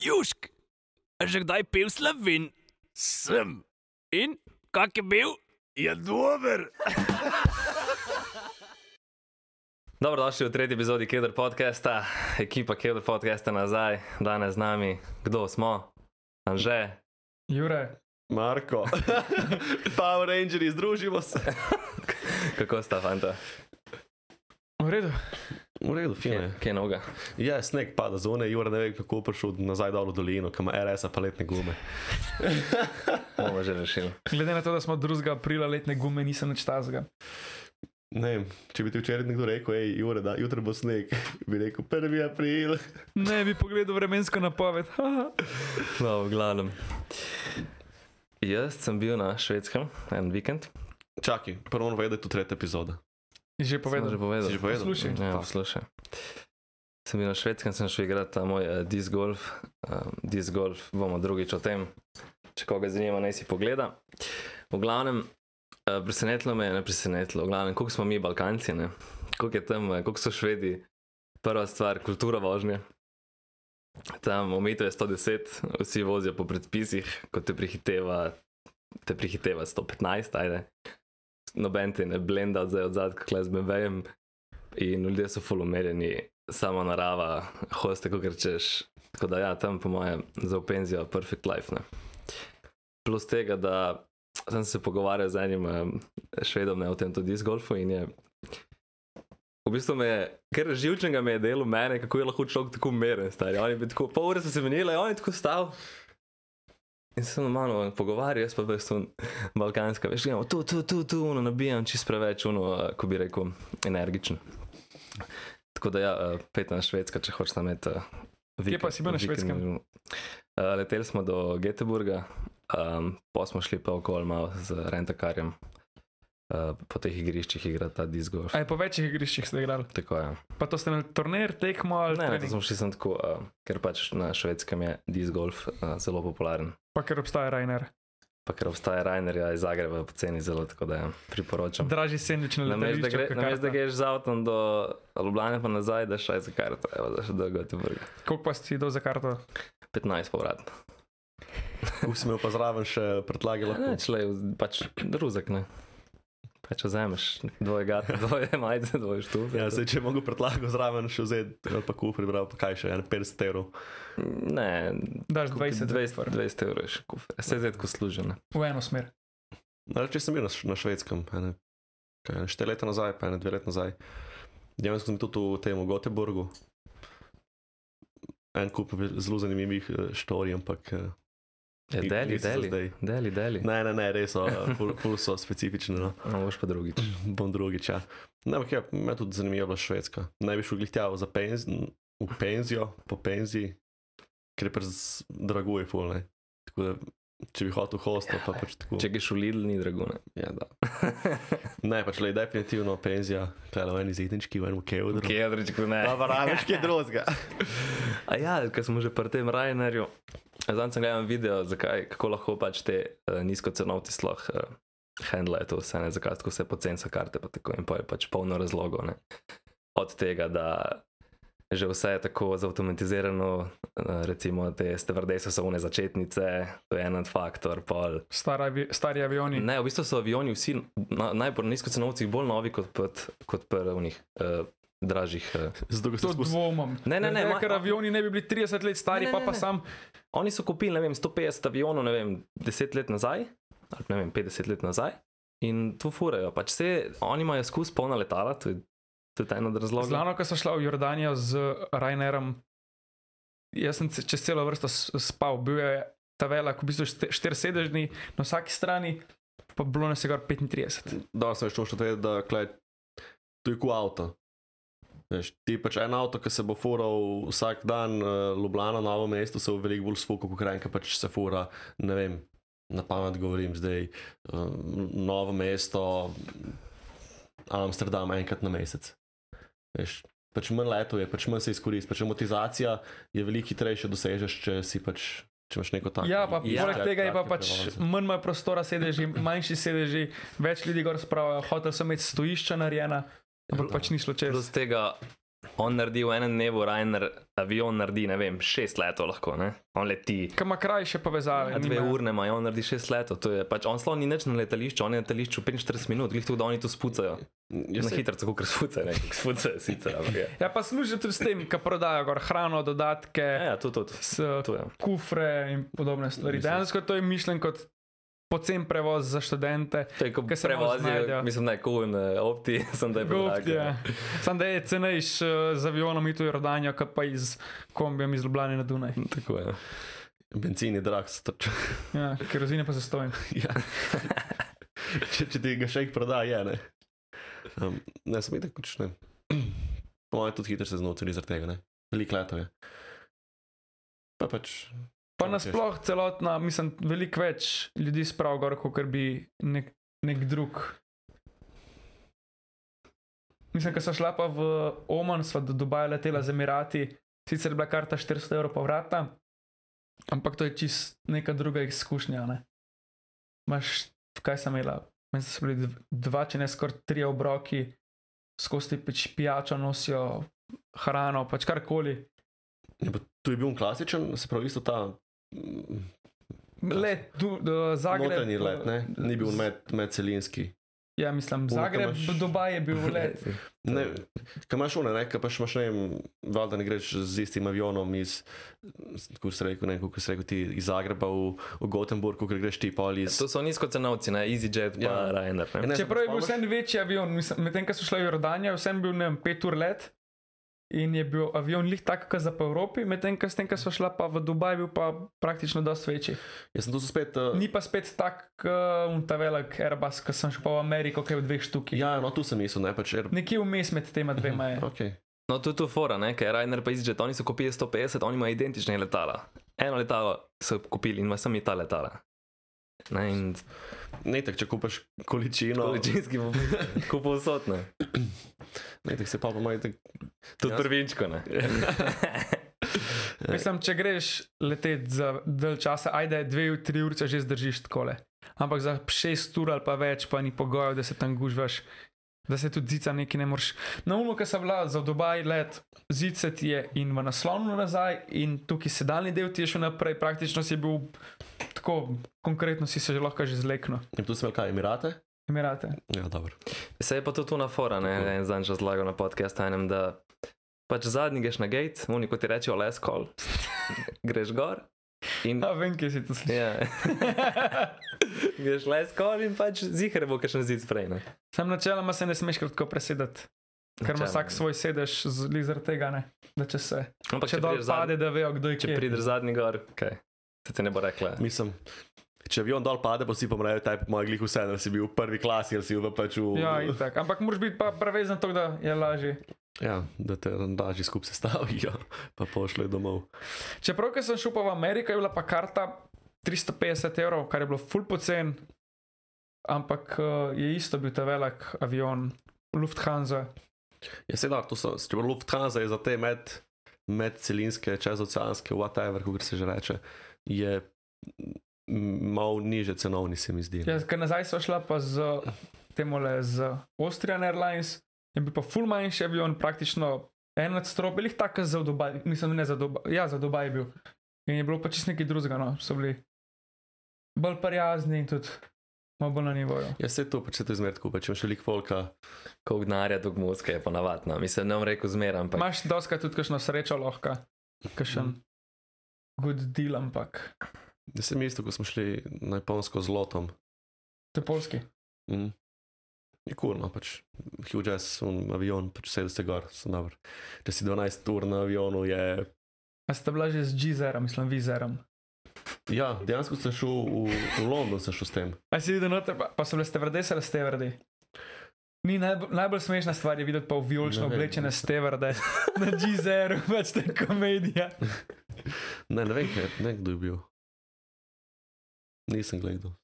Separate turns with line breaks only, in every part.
Južk, a že kdaj pil slovin? Sem. In kak je bil? Je dober.
Dobrodošli v tretji epizodi Keder podcasta, ekipa Keder podcasta nazaj, danes z nami, kdo smo, Anže.
Jure,
Marko, Power Rangers, združimo se.
Kako sta, fanta?
v redu.
V redu, fino
Kje,
je.
kje je noga?
Ja, sneg pada zone, Jure ne ve, kako je prišel nazaj dol v dolino, kam ima RS-a paletne gume.
Bomo že rešili.
Glede na to, da smo 2. aprila letne gume, nisem nič tazga.
Ne vem, če bi ti včeraj nekdo rekel, hej, Jure, da jutri bo sneg, bi rekel 1. april.
Ne bi pogledal vremensko napoved.
No, v glavnem. Jaz sem bil na švedskem en vikend,
Čakaj, prvo moramo vedeti, tu tretja epizoda.
Že
Sem
povedal.
že povedal.
Si že povedal?
Poslušaj.
Ja, poslušaj. Sem bil na švedskem, sem šel igrati ta moj uh, disc golf. Um, disc golf bomo drugič o tem, če koga zanima, naj si pogleda. V glavnem, uh, presenetilo me je, ne presenetilo, v glavnem, koliko smo mi Balkanci, ne? koliko je tam, eh, koliko so Švedi. Prva stvar, kultura vožnje. Tam omejitev je 110, vsi vozijo po predpisih, ko te prihiteva, te prihiteva 115, ajde. Noben te ne blenda zdaj od zadka, kaj z BMW-jem. In ljudje so folomerjeni, sama narava, hoste, ko rečeš. Tako da, ja, tam po mojem, za v penzijo, perfect life. Ne? Plus tega, da sem se pogovarjal z enim em, švedom ne, o tem tudi iz golfu in je. V bistvu me je, ker živčnega me je delo mene, kako je lahko človek tako umeren, stari. Oni bi tako, pol ure so se menili, on je tako stal. In se normalno pogovarjal, jaz pa veš, tu balkanska, veš, gremo tu, tu, tu, tu, uno, nabijam čist preveč, uno, eh, ko bi rekel, energičen. Tako da, ja, eh, pet na švedska, če hočeš tam imeti. eh, vikend-
pa si bil na
vikend-
Švedskem?
Eh, Leteli smo do Göteborga, um, pa smo šli pa okol malo z rentakarjem. Uh, po teh igriščih igra ta disco.
Aj po večjih igriščih ste igrali.
Tako je.
Pa to ste imeli turnir, tekmo ali
Ne,
ne.
ne, to smo šli sem tako, uh, ker pač na švedskem je disc golf uh, zelo popularen.
Pa ker obstaja Rainer.
Pa ker obstaja Rainer, ja, iz Zagreba je po ceni zelo, tako da ja, priporočam.
Dražji sendvič na
Namesto da, gre,
letališču.
namest, da greš z avtom do Ljubljana, pa nazaj, da šaj za karto, evo, da še do Göteborga.
Koliko pa si dal za karto?
15 povratno.
Usmejo pa zraven še prtlage
Ja,
lahko.
Ne, člej, pač druzek ne. Pa če vzameš dvoje gata, dvoje majice, dvoje štufe.
Ja, zdaj, če mogo prtlage zraven še vzeti, ali pa kupi, bral pa kaj še, en persterov.
Ne,
Daš
kupi
20,
20,
evrov.
20 evrov še kufer. Se zdaj tako služi. ne.
V eno smer.
Če sem bil na, š- na švedskem, ene, kaj, ene štiri leta nazaj, pa ene dve leti nazaj. Dejansko sem bil tudi v tem v Göteborgu. En kup vel- zelo zanimivih eh, štorij, ampak. eh,
Ja,
ni-
deli,
niso za
deli.
zdaj.
Deli, deli.
Ne, ne, ne, res so, eh, ful- ful so specifične. No.
No, boš pa drugič.
Bom drugič. Ja. Ne, ampak ja, me tudi zanimiva bila švedska. Naj bi šel glihtjavo za penzijo, v penzijo, po penziji, ker je prez drago je ful. Ne. Tako da, če bi hotel hosta, pa pač tako.
Če greš v Lidl, ni drago. Ne?
Ja, da. Ne, pač le definitivno penzija, kaj le v eni zidnički, v enem kevdu.
Kedričku ja, ne.
pa rabiš kaj drugega.
A ja, ker smo že pri tem Rajnerju. Zdaj sem gledal en video, zakaj, kako lahko pač te uh, nizkocenovci sploh uh, handlajo to vse, ne, zakaj tako vse poceni so karte, pa tako in pa je pač polno razlogov. Ne. Od tega, da že vse je tako zautomatizirano, uh, recimo te stevardese so one začetnice, to je en faktor, pol.
Stari, avi, stari avioni.
Ne, v bistvu so avioni vsi na, najbolj nizkocenovci bolj novi kot pri- kot pri unih uh, dražjih. Uh,
Zato se
To
spustim.
dvomim.
Ne, ne, ne,
Zaradi tega,
ma-
Ker avioni ne bi bili 30 let stari,
Ne, ne,
pa
ne,
pa
ne.
sam.
Oni so kupili, ne vem, 150 avionov, ne vem, 10 let nazaj, ali ne vem, 50 let nazaj. In tu furajo, pač se, oni imajo skus polna letala, to je, to je ta ena od razlogov.
Zlano, ko sem šla v Jordanijo z Rainerom, jaz sem ce- čez celo vrsto s- spal, bil je ta velik, v bistvu štirsedežni na vsaki strani, pa bilo nas je kar 35.
Dobro, sem šel še to, da klej, to je ku avto. Veš, ti pač en avto, ki se bo fural vsak dan, eh, Ljubljana, novo mesto, se bo veliko bolj sfokal, kot kraj, ki pač se fura, ne vem, na pamet govorim zdaj, um, novo mesto, Amsterdam enkrat na mesec. Veš, pač manj leto je, pač manj se izkoristi, pač amortizacija je veliko hitrejša, dosežeš, če si pač, če imaš neko tako.
Ja, pa
ja,
poleg tega je pa
kratke
pač
prevoze.
manj ima prostora, sedeži, manjši sedeži, več ljudi gor spravajo, hotel sem imeti stojišča narejena, ampak
Ja,
pač ni šlo čez.
Plus tega, on naredi v enem dnevu, Rajner, avion naredi, ne vem, šest letov lahko, ne? on leti.
Kaj ima kraj še povezave?
Ja, dve
nimajo.
urne ima, on naredi šest letov, to je pač, on slon ni nič na letališču, on je na letališču 45 minut, glih tu, da oni tu spucajo.
Ja,
Na
saj-
hitro, kako ker spucajo, ne, spucajo sicer. ampak Ja,
Ja, pa služi tudi s tem, kar prodajo gor hrano, dodatke,
ja, ja to, to, to.
s,
to je.
kufre in podobne stvari.
Mislim-
Dejansko to je mišljen kot pocen prevoz za študente.
To je, ko
Ke se malo
prevozijo,
znajdejo.
mislim, da je kuven, eh, opti, sem da je bilo
Gopt, ja. Sam da je cenejš eh, z avionom in tu Jordanijo, kot pa iz kombijem iz Ljubljana na Dunaj.
Tako je.
Benzin je drag, strč.
Ja, kerozine pa se stojim.
ja. če, če ti ga še enkrat proda, je ne. Um, ne, sem tako čne. Po mojem, tudi hitro se znotraj zaradi tega, ne. Veliko letov je. Pa pač.
Pa
Čemu češ?
nasploh celotna, mislim, veliko več ljudi sprav gor, kot bi nek, nek drug. Mislim, ko sem šla pa v Oman, sva do Dubaja letela z Emirati, sicer je bila karta 400 evrov povrata, ampak to je čist neka druga izkušnja. Ne? Maš, kaj sem imela? Mislim, da so bili dv- dva, če ne skoraj tri obroki, skozi pač pijačo nosijo, hrano, pač karkoli.
Je, pa, tu je bil on klasičen, se pravi, isto ta. mm,
Let, du, do, Zagreb.
Notranji let, ne? Ni bil
z-
med, medcelinski.
Ja, mislim,
Pol,
Zagreb,
ko imaš-
Dubaj je bil let.
Ne, kaj imaš one, ne, kaj paš imaš, ne vem, valjda ne greš z istim avionom iz, kako se reče, ne, kako se reče, ti iz Zagreba v, v Gothenburg, ko greš ti pa ali iz.
Ja, To so nizkocenovci, ne, EasyJet, pa
Ja.
ja. Ryanair. Ne?
Ne, se
Čeprav je bil
spomniš?
vsem večji avion, mislim, medtem ko so šli v Jordanijo, vsem bil ne vem, pet ur let. In je bil avion lih tak, kot za po Evropi, medtem ko s tem, ko so šla pa v Dubaj, bil pa praktično dosti večji.
Jaz sem tu spet. Uh,
Ni pa spet tak, kot um, ta velik Airbus, ki sem šel pa v Ameriko, ki je v dveh štukih. Ja.
Ja, no, tu sem mislil, ne pač. Er...
Nekje vmes med tema dvema je.
Okay.
No, to je tu fora, ne, ker Ryanair pa EasyJet, oni so kupili 150, oni imajo identične letala. Eno letalo so kupili in imajo samo ta letala. Ne, in
Ne, tako če kupaš
No.
količino.
količinski bo kupil vsotne.
Ne, tako se pa pomeni, da
Tudi
Jaz-
prvinčko, ne.
Mislim, če greš leteti za del časa, ajde, dve, tri ure že zdržiš takole. Ampak za šest ur ali pa več, pa ni pogojev, da se tam gužvaš, da se tudi zica neki ne moreš. Na umu, ki sem bila za Dubaj let, zice ti je in v naslonu nazaj, in tukaj sedalni del ti je šel naprej, praktično si bil tako, konkretno si se že lahko že zleknil.
je tu smel kaj, Emirate?
Emirate.
Ja, dobro.
Se je pa to tu na fora,
Tako.
ne, en zanj razlagal na podkastu enem, da pač zadnji greš na gate, oni kot ti rečejo last call, greš gor in...
Ja, vem, kje si to slišal.
Ja, greš last call in pač zihre bo kakšen zid prej, ne.
Sam načeloma se ne smeš kratko presedati, ker
Ja.
ima
Načeloma. ja.
vsak svoj sedež, z- glih zaradi tega ne, da če se.
Ampak
Če dol
prideš zadnji-
pade, da vejo, kdo je
Če
kje.
prideš zadnji gor, kaj. Se ti ne bo rekla.
Mislim, če avion dol pade, pa si pomrejo, taj po mojih glih vse, da si bil v prvi klasi ali si bil v pač v.
Ja, itak. ampak moraš biti pa prevezen to, da je lažje.
ja da te randaži skupaj sestavijo, ja, pa pošle domov.
Čeprav, ko sem šel pa v Ameriko, je bila pa karta 350 evrov, kar je bilo full pocen, ampak eh, je isto bil ta velik avion, Lufthansa.
Ja, se da, to so, če bo Lufthansa je za te med, medcelinske, čezoceanske, whatever, kako se že reče, je m, malo niže cenovni, se mi zdi. ne.
Ja, ker nazaj so šla pa z temole, z Austrian Airlines, je bil pa full manjši avion, praktično en nadstrop, belih tako za Dubaj, mislim, ne za Dubaj, ja, za Dubaj je bil. In je bilo pa čist nekaj drugega, no, so bili bolj prijazni in tudi malo bolj na nivoju.
Ja, se to pač se to izmerno kupa, če imaš veliko volka.
Koliko denarja dolg mozga je ponavadno. Mislim, ne bom rekel zmeraj, ampak Ma...
Imáš doska tudi kakšno srečo, lahko, kakšen good deal, ampak
Jaz sem isto, ko smo šli na Japonsko z lotom.
to je polski.
Mm. Je kurno, pač huge jazz, un avion, pač 70 gor, sem dober. Če si 12 ur na avionu, je.
A ste bila že z Gizerom, mislim, vizerom.
Ja, dejansko sem šel v, v London, sem šel s tem.
A si videl, noter, pa, pa so bile stevrde, ali stevrde. Ni najbolj, najbolj smešna stvar je videti pa v vijolično
Ne vem,
oblečene
nisem.
stevrde na Gizeru, več te komedija.
Ne, ne vem, kaj, ne, kdo je bil. Nisem gledal.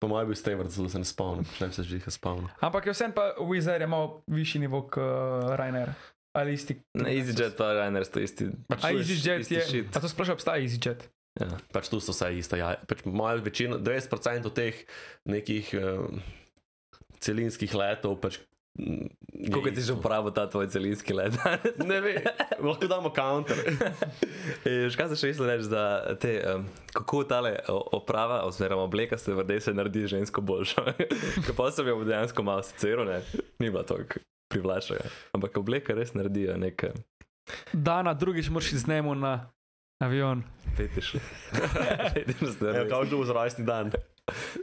Po mojem je bil Stever, zelo se ne spomnim, če ne bi se že jih spomnil.
Ampak je vsem pa Wizer je malo višji nivo kot uh, Rainer. Ali isti.
ne EasyJet pa Ryanair sta isti.
Pač
A
to je
EasyJet
isti
je.
shit.
A to sploh še obstaja EasyJet?
Ja.
Pač tu so vse iste. Ja. Pač imajo večino, 90% teh nekih uh, eh, celinskih letov, pač
Kako ti že uporabo ta tvoj celinski let?
Ne vem, lahko damo counter.
E, Še kaj se še isto reče za te, um, kako tale o- oprava oziroma obleka se vrde se naredi žensko boljšo. Ker pa sem jo dejansko malo sicer, ne, ni bila tako privlačna. Ampak obleka res naredi nekaj
Dana, drugič moraš iz njemu na avion.
fetiš. fetiš
Ja,
stvari.
Kaj bo za rojstni dan?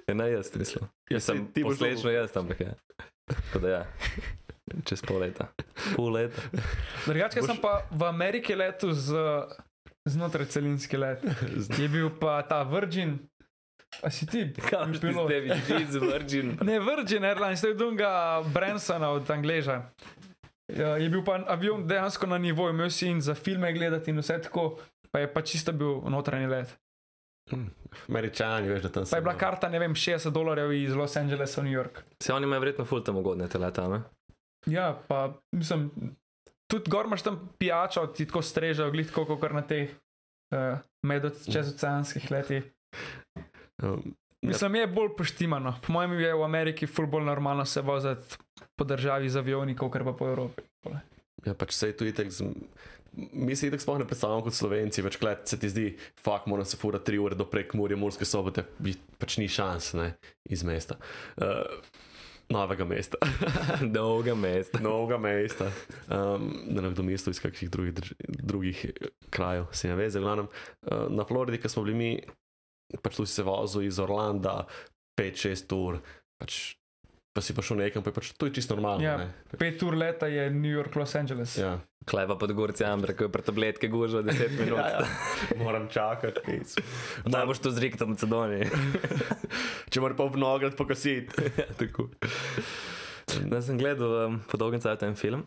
Ja, ne jaz, mislim.
Ja,
Jaz sem
ti boš
posledično jaz, ampak ja. Tako da ja, čez pol leta. Pol leta.
Drugače, jaz sem
Boš-
pa v Ameriki letel z, znotraj celinski let. Je bil pa ta Virgin, a si ti?
Kam že
Pilot.
tebi, Jeez Virgin.
Ne, Virgin Airlines, to je Dunga Bransona od Angleža. Ja, Je bil pa avion dejansko na nivoju, imel si in za filme gledati in vse tako, pa je pa čisto bil notranji let.
Američani, veš, da
Pa
tam
je
so. no.
bila karta, ne vem, 60 dolarjev iz Los Angelesa v New York.
Se oni imajo verjetno ful tam ugodne teleta, ne?
Ja, pa mislim, tudi gor imaš tam pijačo, ti tako strežejo, glih tako kot na teh uh,
Mm.
medocezoceanskih letih.
Um,
Ja.
Mislim, je bolj poštimano. Po mojem je v Ameriki ful bolj normalno se voziti po državi z avioni, kot pa po Evropi.
Ja, pač se je tu itek. Z... Mi se itek sploh ne predstavljamo kot slovenci, večkrat se ti zdi, fakt moram se fura tri ure do prek morja, morske sobote, bi- pač ni šans, ne, iz mesta. Uh, novega mesta.
Dolga mesta.
Novega mesta. Um, da ne kdo mesto iz kakšnih drugih, drž- drugih eh, krajev, se ne veze. v Glavnem, uh, na Floridi, ki smo bili mi, pač tu si se vozil iz Orlanda 5-6 ur, pač, pa si prišel nekam, pa je pač to je čisto normalno.
Ja.
ne.
Pet ur leta je New York, Los Angeles.
Ja.
Klej pa pod gorci Amber, ko je pred tabletke gužva 10 minut. ja, ja.
Moram čakati. res.
Naj boš to zrikal v Macedoniji.
Če moraš pa v nograd pokositi.
ja, tako. Jaz sem gledal um, po dolgem času en film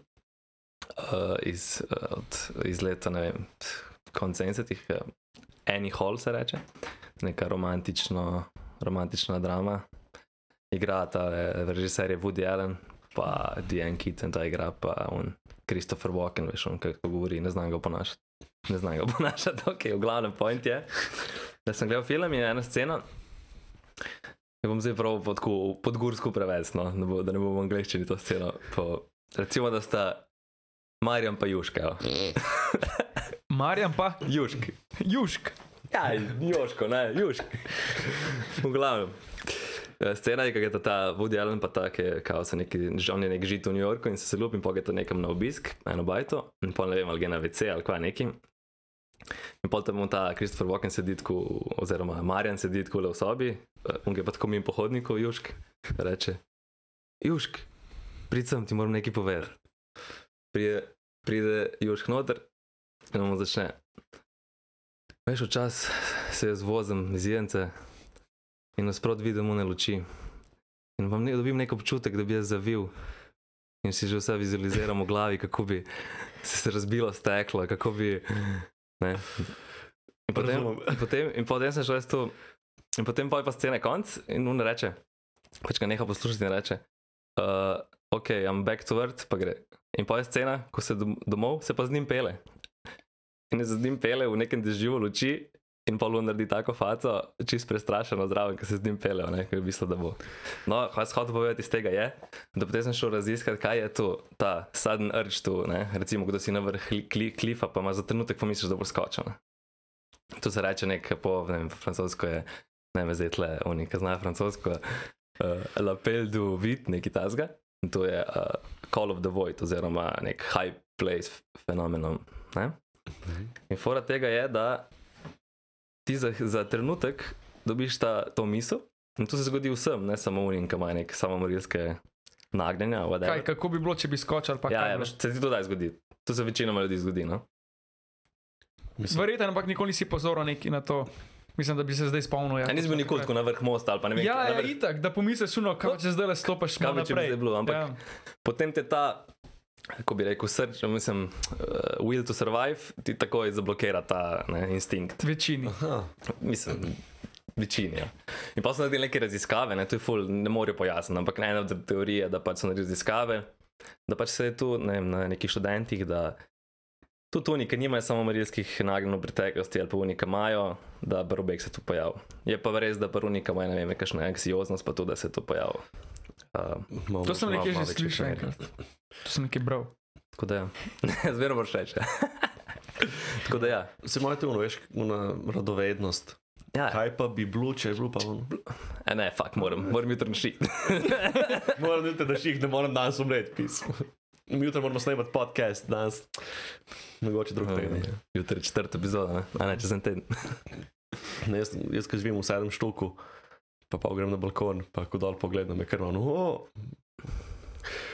uh, iz, uh, od, iz leta, ne vem, koncencetih, uh, Annie Hall se reče, neka romantično, romantična drama. Igra ta eh, režiser je Woody Allen, pa Diane Keaton, ta igra pa on, Christopher Walken, veš, on kako govori, ne znam ga oponašati. Ne znam ga oponašati, ok, v glavnem point je. Da sem gledal film in je ena scena, Ne Ja bom zdaj prav pod, pod gursko prevez, no, ne bo, da ne bom v angleščini to sceno. Po, recimo, da sta Marjan pa Juška. ja. evo.
Marjan pa
Jušk.
Južk.
Ja, Joško, ne, Jušk. V glavnem. Eh, Scena je, kako je ta- ta Woody Allen, pa ta, ki je kao se neki, on je nek žit v New Yorku in se se lupi, in pogeta nekam na obisk, eno bajto, in pa ne vem, ali gre na WC ali kva neki. In potem mu ta Christopher Walken sedi tako, oziroma Marjan sedi tako v sobi, eh, on je pa tako min po hodniku, Jušk, reče: Jušk, pridem ti moram nekaj povedati. Pride, pride Jušk noter in mu začne. Veš, včasih se jaz vozim iz Jence in nasprot vidim one luči. In vam ne dobim nek občutek, da bi jaz zavil. In si že vse vizualiziram v glavi, kako bi se razbilo steklo, kako bi. Ne. In potem,
Razumem.
in potem, in potem sem šel jaz tu. In potem pa je pa scena konc in un reče, pač ga neha poslušati in reče, uh, ok, I'm back to earth, pa gre. In pa je scena, ko se dom- domov, se pa z njim pele. In je z njim pele v nekem dežju luči. In pa on naredi tako faco, čist prestrašeno zraven, ki se z njim pele, ker je mislil, da bo. No, kaj sem hotel povedati iz tega je, da potem sem šel raziskati, kaj je to, ta sudden urge tu, ne? recimo, kdo si na vrhu kli, klifa, pa ima za trenutek pomisliš, da bo skočil. ne. To se reče nek po, ne vem, po francosko je, ne vem, zdaj tle, oni, ki znajo francosko, uh, lapel du vid, neki tasga. In to je uh, Call of the Void, oziroma nek high place fenomenon. Ne?
Mhm.
In fora tega je, da ti za, za trenutek dobiš ta, to misel. In to se zgodi vsem, ne samo unim, ki imajo neke samomorilske nagnjenja. whatever.
Kaj, kako bi bilo, če bi skočil? pa
Ja,
kaj
ja,
bi bilo?
veš, se ti to da zgodi. To se večinoma ljudi zgodi. No?
Verjetno, ampak nikoli nisi pozoren neki na to. Mislim, da bi se zdaj spomnil.
Ja, nisem bil nikoli tako na vrh mosta ali pa ne vem,
Ja,
na
ja,
vrh
itak, da pomisliš, no, kaj če zdaj le stopiš,
Kaj
malo
bi, če bi
naprej.
zdaj bilo, ampak-
Ja.
potem te ta, kako bi rekel, srč, mislim, uh, will to survive, ti takoj zablokira ta ne, instinkt.
Večini.
Aha,
Mislim, večini. Ja. In pa so naredili neke raziskave, ne, to je ful, ne morejo pojasniti, ampak ena od teorij je, da pač so naredili raziskave, da pač se je tu ne, vem, na nekih študentih, da tudi oni, ki nimajo samo marijskih nagnjenj v preteklosti ali pa oni, ki imajo, da brobek se tu pojavil. Je pa res, da prvo nekaj imajo, ne vem, kakšna anksioznost, pa tudi, da se je to pojavil. Uh,
Malo
To sem
več-
nekje
malo
že
več
slišal
ekranov.
enkrat. To sem nekaj bral.
tako da ja, zmerno moraš reči. tako da ja.
Se imate ono, veš, ona radovednost.
ja.
Kaj pa bi bilo, če je bilo pa ono?
E, ne, fakt moram, moram jutri šiti.
Moram jutri, da še jih ne morem danes umreti, pismo. Jutri moramo snemati podcast, danes. Mogoče drug
ja.
teden.
Jutri je četrta epizoda, ne, A ne čez en teden.
Ne, Jaz, jaz ki živim v sedem štoku, pa pa grem na balkon, pa ko dol pogledam, je krvno. Oh.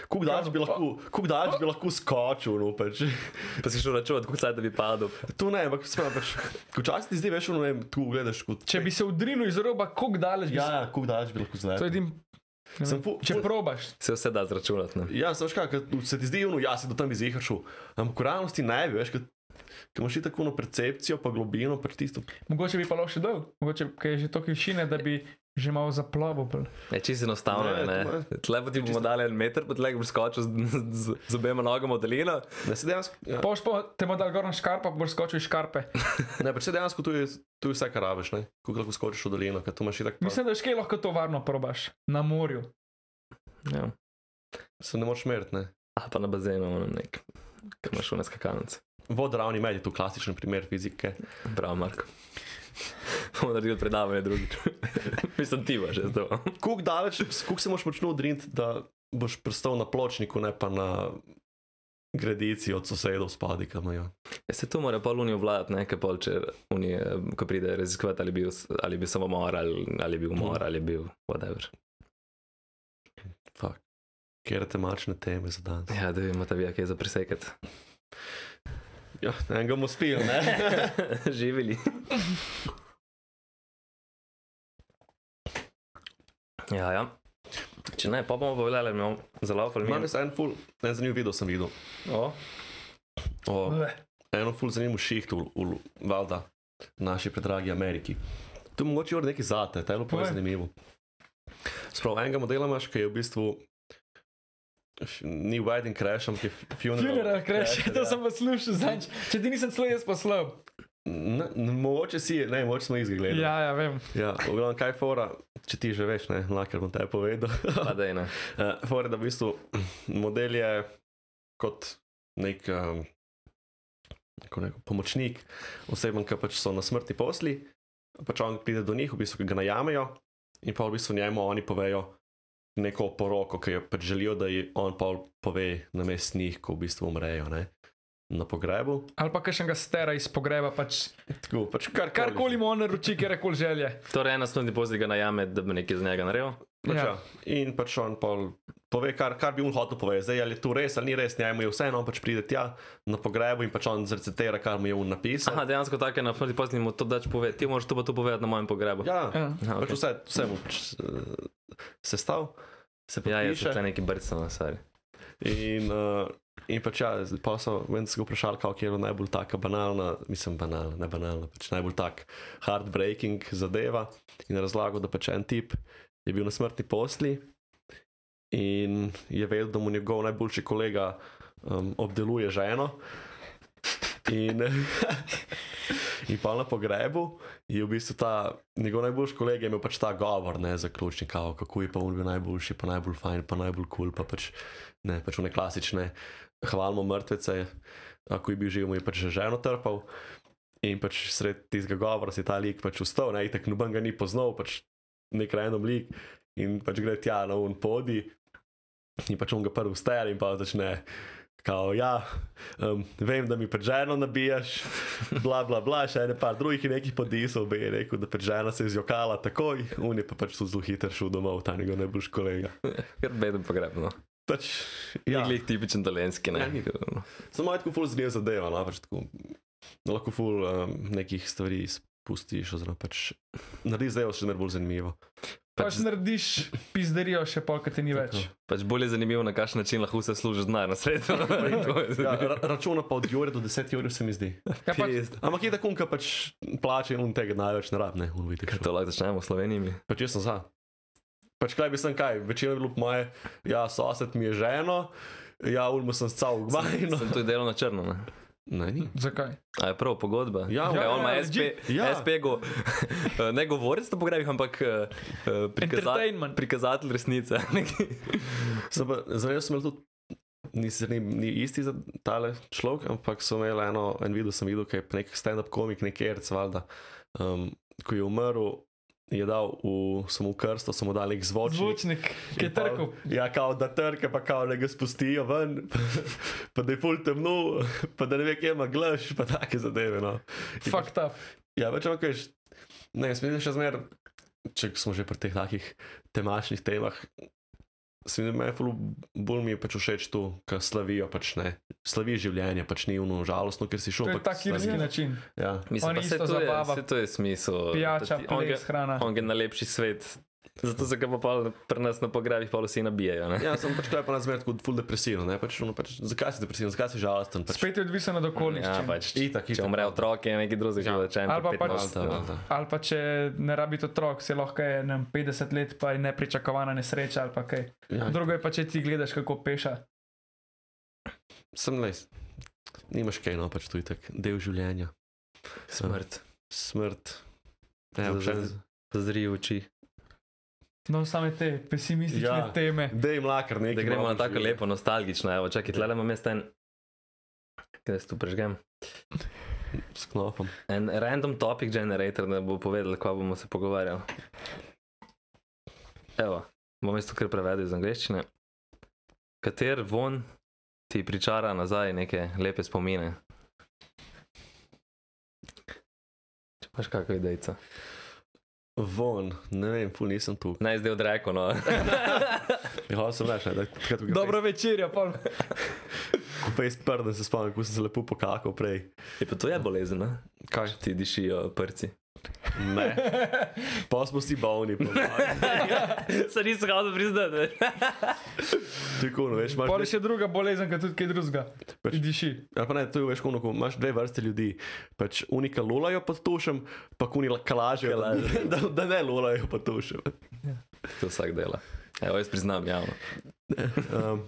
Kuk daljši bi, lahko- kako daleč bi lahko skočil, no pač.
Pa si šel računati, koliko cajt da bi padel.
To ne, ampak smem pač. Ko čas ti zdaj veš, no vem, tu gledaš kot.
Če bi se udrinil iz roba, kako daleč bi se.
Ja, ja kuk daleč bi lahko
To je
zdaj.
edin. ne
Sem
vem,
fu-
Če
ful-
probaš,
Se vse da zračunati. Ne.
Ja, znaš kaj, kad se ti zdi, no, ja, si do tam izjehal, ampak v realnosti ne bi, veš, kad- ko imaš ti tako eno percepcijo, pa globino, pač tisto.
mogoče bi pa lahko še dol, mogoče ker je že toliko višine, da bi že malo zaplavil. bolj.
Je Ja, čisto enostavno.
Ne,
Ne, ne.
to je-
Tle pa ti bomo dali en meter, pa tle boš skočil z, z, z obema nogama od delina.
Ne, se dejansko, ja,
Pa boš pa te bo dal gor na škarpa, pa boš skočil iz škarpe.
ne, pač se dejansko tu je, tu je vse, kar rabiš, ne, ko lahko skočiš v dolino, kad tu imaš ti tako.
Mislim, da še kaj lahko to varno probaš na morju.
Ja.
Se ne moreš meriti, ne.
A pa na bazenu, ono nek, ki imaš v neskakalnici.
Vodoravni med je tu klasičen primer fizike.
Prav, Marko. Bomo naredili predavanje drugič. Mislim, ti imaš zdaj.
Kuk daleč, kuk se moš močno odriniti, da boš prstal na pločniku, ne pa na gredici od sosedov spadi, kam imajo.
Ja, Se tu mora pa luni obvladati, ne, kaj pol, če unije, ko pride raziskovati, ali je bil, ali je bil samo mor, ali, ali je bil mor, ali je bil whatever.
Fak. Ker te mačne teme za dan.
Ja, da vemo, da bi kaj za presekati.
Ja, enega mu spijo, ne.
Živeli. Ja, ja. Če ne, pa bomo povedali, da imamo zelo
Imam
veliko
jaz en ful, en zanimiv video sem videl.
ljudi.
O,
Bleh.
eno ful zanimivo šiht v, v, v Valda, naši predragi Ameriki. Tu mogoče je nekaj zate, ta je bilo pa
Povej.
zanimivo. Sprav enega modela imaš, ki je v bistvu f- ni wedding crash, ampak je f- funeral.
Funeral crash, to
no, ja.
sem poslušal zadnjič. Če ti nisem celo jaz poslal.
Ne, ne, mogoče si, je- ne, mogoče smo izgledali.
Ja, ja, vem.
ja v glavnem, kaj je fora, če ti že veš, ne, lahko bom te povedal.
Pa da je ne.
Eh, Fora je, da v bistvu mm, model je kot nek um, rekel, pomočnik osebam, ki pač so na smrti posli, pač on pride do njih, v bistvu ki ga najamejo in pa v bistvu njemu oni povejo neko poroko, ki jo pač želijo, da ji on pa pove namest njih, ko v bistvu umrejo ne? na pogrebu.
Ali pa kakšnega stera iz pogreba, pač
Tako, pač kar,
karkoli mu on naroči, kjer je kol želje.
Torej, ena smrtni poziga najame, da bi nekaj z njega naredil.
Pač, ja.
Ja.
In pač on pol pove, kar, kar bi on hotel povedati, zdaj ali je to res ali ni res, njemu je vseeno, on pač pride tja na pogrebu in pač on zrecitira, kar mu je on napisal.
Aha, dejansko tako je na smrtni pozivi, mu to dač povedati. Ti moraš to pa to povedati na mojem pogrebu.
Ja,
Ja.
Aha,
pač
okay.
vse, vse mu pač, eh, sestav, se
ja jaz sem
podpiše.
tukaj neki brcno, sorry.
In, uh, in pač ja, pa so meni se ga vprašali, kako je najbolj taka banalna, mislim banalna, ne banalna, pač najbolj tak heartbreaking zadeva. In razlago, da pač en tip je bil na smrtni posli in je vedel, da mu njegov najboljši kolega um, obdeluje ženo. In, in pa na pogrebu je v bistvu ta njegov najboljši kolega imel pač ta govor, ne zaključni, kao, kako je pa on bil najboljši, pa najbolj fajn, pa najbolj kul, cool, pa pač ne, pač one klasične, hvalimo mrtvece, ako je bil živ, mu je pač že ženo trpal. In pač sred tistega govora si ta lik pač vstal, ne, tako noben ga ni poznal, pač nek random lik in pač gre tja na un podi in pač on ga prvi vstaja in pa začne. Kao, ja, um, vem, da mi pač ženo nabijaš, bla, bla, bla, še ene par drugih je nekih podisov, bi je rekel, da pač žena se je zjokala takoj, on je pa pač tu zelo hiter šel domov, ta njegov najboljši kolega.
Ker beden pogrebno.
Pač,
Ja.
ja.
Glej, no. tipičen dolenski,
Ja,
ne. No.
ni. Samo je tako ful zanimiva zadeva, no, pač tako, da lahko ful um, nekih stvari izpustiš, oziroma pač narediš zadevo še zmeraj bolj zanimivo.
Pač narediš pizderijo še pol, ki ti ni več.
Pač bolj je zanimivo, na kakšen način lahko vse služi denar na svetu. To je
Ja,
zanimivo.
ra računa pa od jure do 10 jure se mi zdi.
Ja, pač,
Pizd.
Ampak je tako, da pač plače in tega največ ne rabne, on vidi.
To lahko začnemo v Sloveniji. mi.
Pač jaz sem za. Pač kaj bi sem kaj, večino je bilo po moje, ja, sosed mi je ženo, ja, ulmo sem scal v gmajno.
Sem to delal na črno. Ne?
Ne, ni.
Zakaj?
A je prav pogodba?
Ja,
ja,
ja,
on ima
ja,
SP,
legit,
ja.
ja.
SP go, ne govorec na pogrebih, ampak eh, eh, prikaza
Entertainment.
prikazatelj resnice.
Se pa, zdaj smo imeli tudi, ni, sicer ni, ni isti za tale človek, ampak so imeli eno, en video sem videl, ki je nek stand-up komik, nek erc, valjda. Um, ko je umrl, je dal v samo krsto, samo dal nek zvočnik.
Zvočnik, ki je
In pol-
trkal.
Ja, kao da trka, pa kao da ga spustijo ven, pa da je pol temno, pa da ne ve, kje ima glaš, pa take zadeve. No. In
Fuck up.
Ja, več ampak veš, ne, smisel še zmer, če smo že pri teh takih temačnih temah. Smisel me je ful, bolj mi je pač všeč to, kar slavijo, pač ne. Slavi življenje, pač ni uno žalostno, ker si
To
šel.
je
ampak
tak irski
slavi.
način.
Ja.
Mislim,
On
pa
isto
saj to, je,
zabava.
saj to je smisel.
Pijača,
da ti- on ga-
ples, hrana.
On je na lepši svet. Zato se ga pa pol pri nas na pogrebih pa vsi nabijajo. Ne?
ja, sem pač kaj pa na zmer tako ful depresiven, ne pač ono pač, zakaj si depresiven, zakaj si žalosten. Pač.
Spet je odvisno od
Ja,
okoliščin.
pač,
Itak,
Če
itak.
umre otrok, je nekaj drugega,
Ja.
ja. če
Ali pa pač-
Valjda, valjda.
Ali pa če ne rabite otrok, se lahko je nam 50 let, pa je nepričakovana nesreča ali pa kaj.
Ja,
Drugo je pa, če ti gledaš, kako peša.
sem les. Nimaš kaj, no pač tu je tak del življenja. Eh,
Smrt.
Smrt.
Ja,
Evo, še-
Zazri oči.
No, same te pesimistične ja.
Ja.
teme.
Dej jim lakar nekaj.
Da gremo na
malo
tako
življenja.
lepo, nostalgično. Evo, čakaj, tle imam jaz en. Kaj jaz tu prežgem?
S knopom.
En random topic generator, da bo povedal, ko bomo se pogovarjali. Evo, bom jaz to kar prevedel iz angleščine. Kater von ti pričara nazaj neke lepe spomine? Če imaš kakšno idejco.
Von, ne vem, ful nisem tu.
Naj zdaj odreko, no.
Ja, sem reče, da takrat, ko ga
Dobro ja, večerja, pa
Ko fejs prden se spomnim, ko sem se lepo pokakal prej.
Je E, pa to je bolezen, ne? Kaj? Ti dišijo prsti.
Ne. Pa smo si bolni, pa
Se nisem hotel priznati. veš.
tako, no, veš, imaš...
pol je še druga bolezen, kot tudi kaj drugega.
Pač-
Diši.
Ali pa ne, to je veš, ono, ko imaš dve vrste ljudi. Pač unika lolajo pod tušem, pa kuni kalažejo, da, da, da ne lolajo pod tušem.
To vsak dela. Evo, jaz priznam ja. javno.
Um,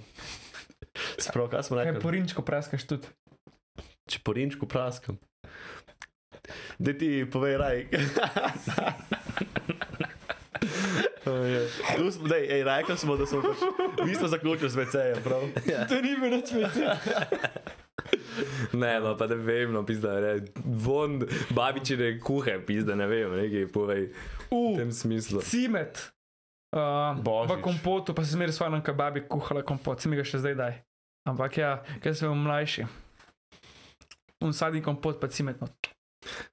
Sprav, kaj smo
Kaj
rekli?
porinčko praskaš tudi.
Če po rinčku praskam. Da ti povej, raj. Tu smo, dej, ej, rekli smo, da smo pač, mi smo zaključili s VC-jem, prav?
To ni bilo nič več.
Ne, no, pa ne vem, no, pizda, ne. von babičine kuhe, pizda, ne vem, nekaj povej v
Uh,
tem smislu.
cimet. Uh, v
Božič.
kompotu pa se zmeraj svojim, kaj babi kuhala kompot, se mi ga še zdaj daj. Ampak ja, kaj sem mlajši. Un sadni kompot pa cimetno.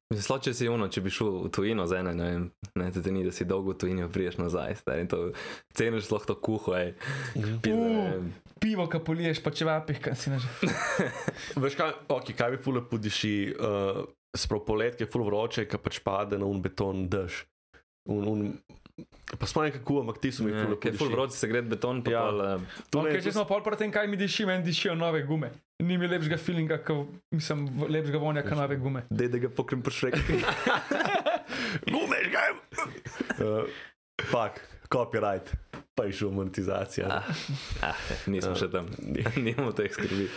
Ja, Slo, če si uno, če bi šel v tujino za eno, ne vem, ne, te, te ni, da si dolgo v tujini priješ nazaj, stari, to ceniš sloh to kuho, ej, pizda, ne vem.
Pivo, ki poliješ, pa če vapih, kaj si ne že.
Veš kaj, ok, kaj bi fule podiši, uh, sprav polet, ki je ful vroče, ki pač pade na un beton dež. Un, un, pa spomnim, kako, ampak ti so mi fule
Ja, Ker ful vroč se gre beton, pa
Ja.
pol, eh,
To
Okay,
ne,
če
to
smo pol pri tem, kaj mi diši, meni dišijo nove gume. Ni mi lepšega feelinga, ko, mislim, v- lepšega vonja, kot nove gume.
daj, da ga pokrem pršek.
Gumeš, kaj? Uh, pak, copyright, pa je šel monetizacija.
Ah. Ah, nismo še tam, nimamo teh skrbi.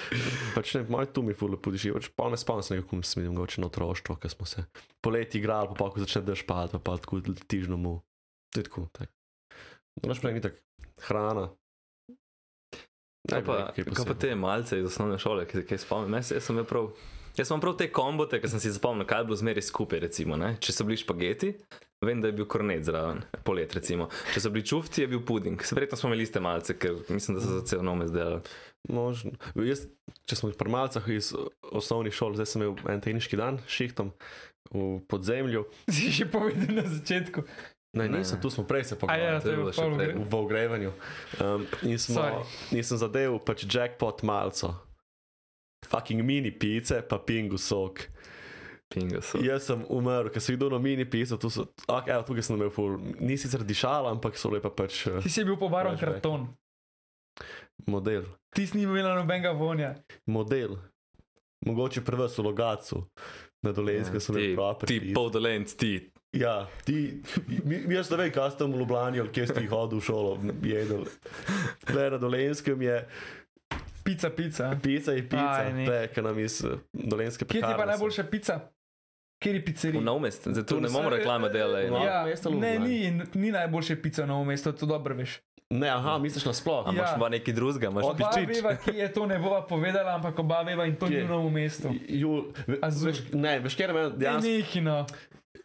Pač ne, moj tu mi ful lepo diši, pač pa ne spomnim se nekako, mislim, mogoče na otroštvo, ko smo se poleti igrali, pa pa ko začne dež padati, pa pa tako letižno mu. To je tako, tako. No, naš prej ni tako, hrana.
Kaj Ja,
bi
pa,
rekel,
kaj
kaj
pa
posebno.
te malce iz osnovne šole, ki se kaj spomnim? Jaz, jaz sem imel prav. Jaz sem imel prav te kombote, ki sem si zapomnil, kaj je bilo zmeraj skupaj. Recimo, ne? Če so bili špageti, vem, da je bil kornet zraven, polet. Recimo. Če so bili čufti, je bil puding. Se Verjetno smo imeli iste malce, ker mislim, da so za cel nome zdaj.
Možno. Jaz, če smo pri malcah iz eh, osnovnih šol, zdaj sem imel en tehnički dan s šihtom v podzemlju.
Si že povedal na začetku.
Ne,
Ne,
nisem,
ne.
tu smo prej se
A
pogovarjali.
ja,
to je
to je
bilo
bilo
še
pol.
prej.
gre.
V ogrevanju. Um, in, smo,
Sorry.
in sem zadeval pač jackpot malco. Fucking mini pice, pa pingu sok.
Pinga so.
Jaz sem umrl, ker sem videl na mini pico, tu so, ok, evo, tukaj sem imel ful, ni sicer dišala, ampak so lepa pač eh,
Ti si bil pobaran
Flashback.
karton.
model.
Ti si imel nobenega vonja.
Model. Mogoče prvo so logacu, na dolenski so
Ja, ti,
lepi pravi.
ti poldolenc, ti.
Ja, ti, mi- mi- jaz ne vem, kaj tam v Ljubljani, ali kje si ti hodil v šolo, jedel. Le na dolenjskem je
Pica, pica.
Pica je pica,
Aj, ne.
to je, kar nam iz eh, dolenjske
Kje ti
pekarne.
pa najboljša pica? Kjer je
V
pizzerija?
Novmest, zato
Tu
ne
se-
bomo reklame delali. No.
Ja.
Ja,
mesto Ljubljana.
ne, ni, ni najboljše pica na mestu, to dobro veš.
Ne, aha, misliš nasploh.
Ampak
Ja.
imaš pa nekaj drugega, imaš
Od-
Oba
Pičič.
veva, ki je to ne bova povedala, ampak oba veva in to
Kje?
ni na mestu.
Ju, ve,
Azur.
veš, ne, veš, kjer meni
Ja,
dejansko.
nekino.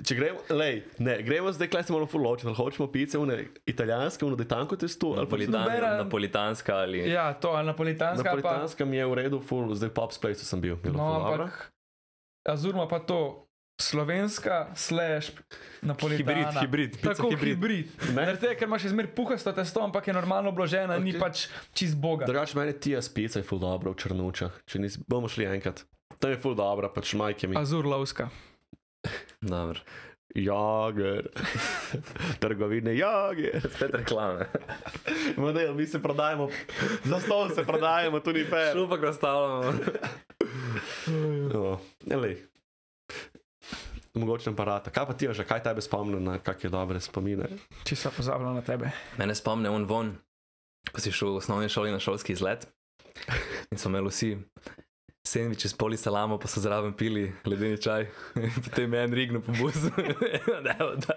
Če gremo, lej, ne, gremo zdaj, kaj se moramo fuločiti, ali hočemo pice, une italijanske, une detanko testo, ali pa
Napolitan,
Nobena-
napolitanska ali
Ja, to, ali napolitanska, ali pa...
Napolitanska mi je v redu, ful, zdaj pop splace sem bil. bilo ful
No,
dobro.
ampak Azur ima pa to slovenska, slash, napolitana.
Hibrid, hibrid, pica
Tako
hibrid.
hibrid.
Ne?
Zaradi tega, ker imaš izmer puhasto testo, ampak je normalno obložena, okay. ni
Okej.
pač čist boga.
Drugač meni ti jaz pica je ful dobro v Črnučah, če nisi, bomo šli enkrat. Tam je ful dobro, pač majke mi.
Azur lovska.
Dobro.
Jager, trgovine Jager.
Spet reklame.
Model, mi se prodajemo, za stol se prodajemo, tu ni fair.
Šupak razstavljamo.
No, lej. Mogoče aparata. Kaj pa ti, že kaj tebe spomni na kakšne dobre spomine?
Če sem pozabil na tebe.
Mene spomne on von, ko si šel v osnovni šoli na šolski izlet in so imeli vsi sendviče s poli salamo, pa so zraven pili ledeni čaj. In Potem je en rigno po buzu. da, da.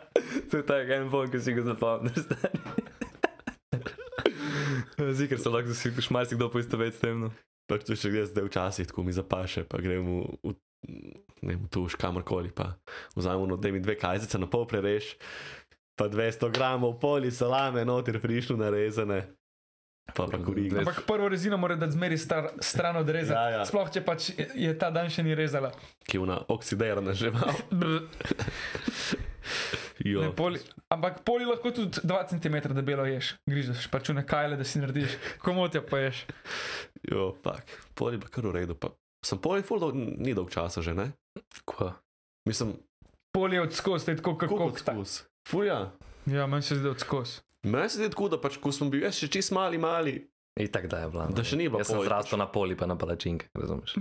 To je tak en von, ki si ga zapomniš. stari. Zikr se lahko si še marsikdo poistoveti s tem. No.
Pač to še gre zdaj včasih, tako mi zapaše, pa gremo v, ne vem, tuš kamorkoli, pa vzamemo, da mi dve kajzice na pol prereš, pa 200 gramov poli salame, noter frišno narezane, pa pa kuri.
Dvesto.
Ampak prvo rezino mora dati zmeri star, stran odrezati.
Ja, ja.
Sploh če pač je ta dan še ni rezala.
Kivna, oksidirana žival.
Brr,
Jo.
ne, poli, ampak poli lahko tudi 2 cm debelo ješ, grižeš, pač v nekaj le, da si narediš, komotja pa ješ.
Jo, pak. Pol je pa kar v redu. Pa. Sem pol je ful, dolg, ni dolg časa že, ne?
Ko?
Mislim,
Poli je odskoz, tako kot
kako
kokta.
okus. Fuja.
Ja, meni se zdi odskoz.
Meni se zdi tako, da pač, ko smo bili jaz še čist mali, mali,
In tako da je bila. no.
Da še ni bilo
Jaz sem
poli,
zrastel na poli, pa na palačinke, razumeš?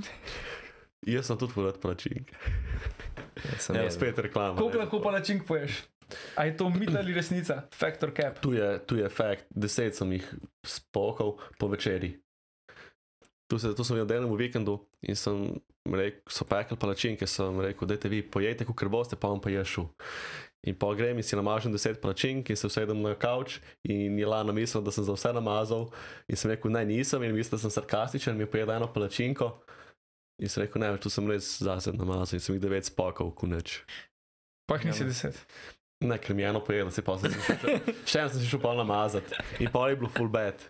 jaz sem tudi porad plačink.
Jaz sem
Ja,
jedel.
spet reklama.
Koliko
ne.
lahko pa način poješ? A je to mit ali resnica? Factor cap.
Tu je, tu je fakt, deset sem jih spokal po večerji. Tu, se, tu sem bil na enem vikendu in sem rekel, so pekli palačinke, sem rekel, dajte vi, pojejte, ko kar boste, pa bom pa jaz šel. In pa grem in si namažem deset palačink in se usedem na kavč in je lana mislila, da sem za vse namazal in sem rekel, ne nisem in mislil, da sem sarkastičen, mi je pojedel eno palačinko in sem rekel, ne, tu sem res zase namazal in sem jih devet spokal, kuneč.
Pah nisi deset.
Ne, ker mi je eno pojedel, se pa sem se šel. Še en sem se šel pa namazati in pa je bilo full bed.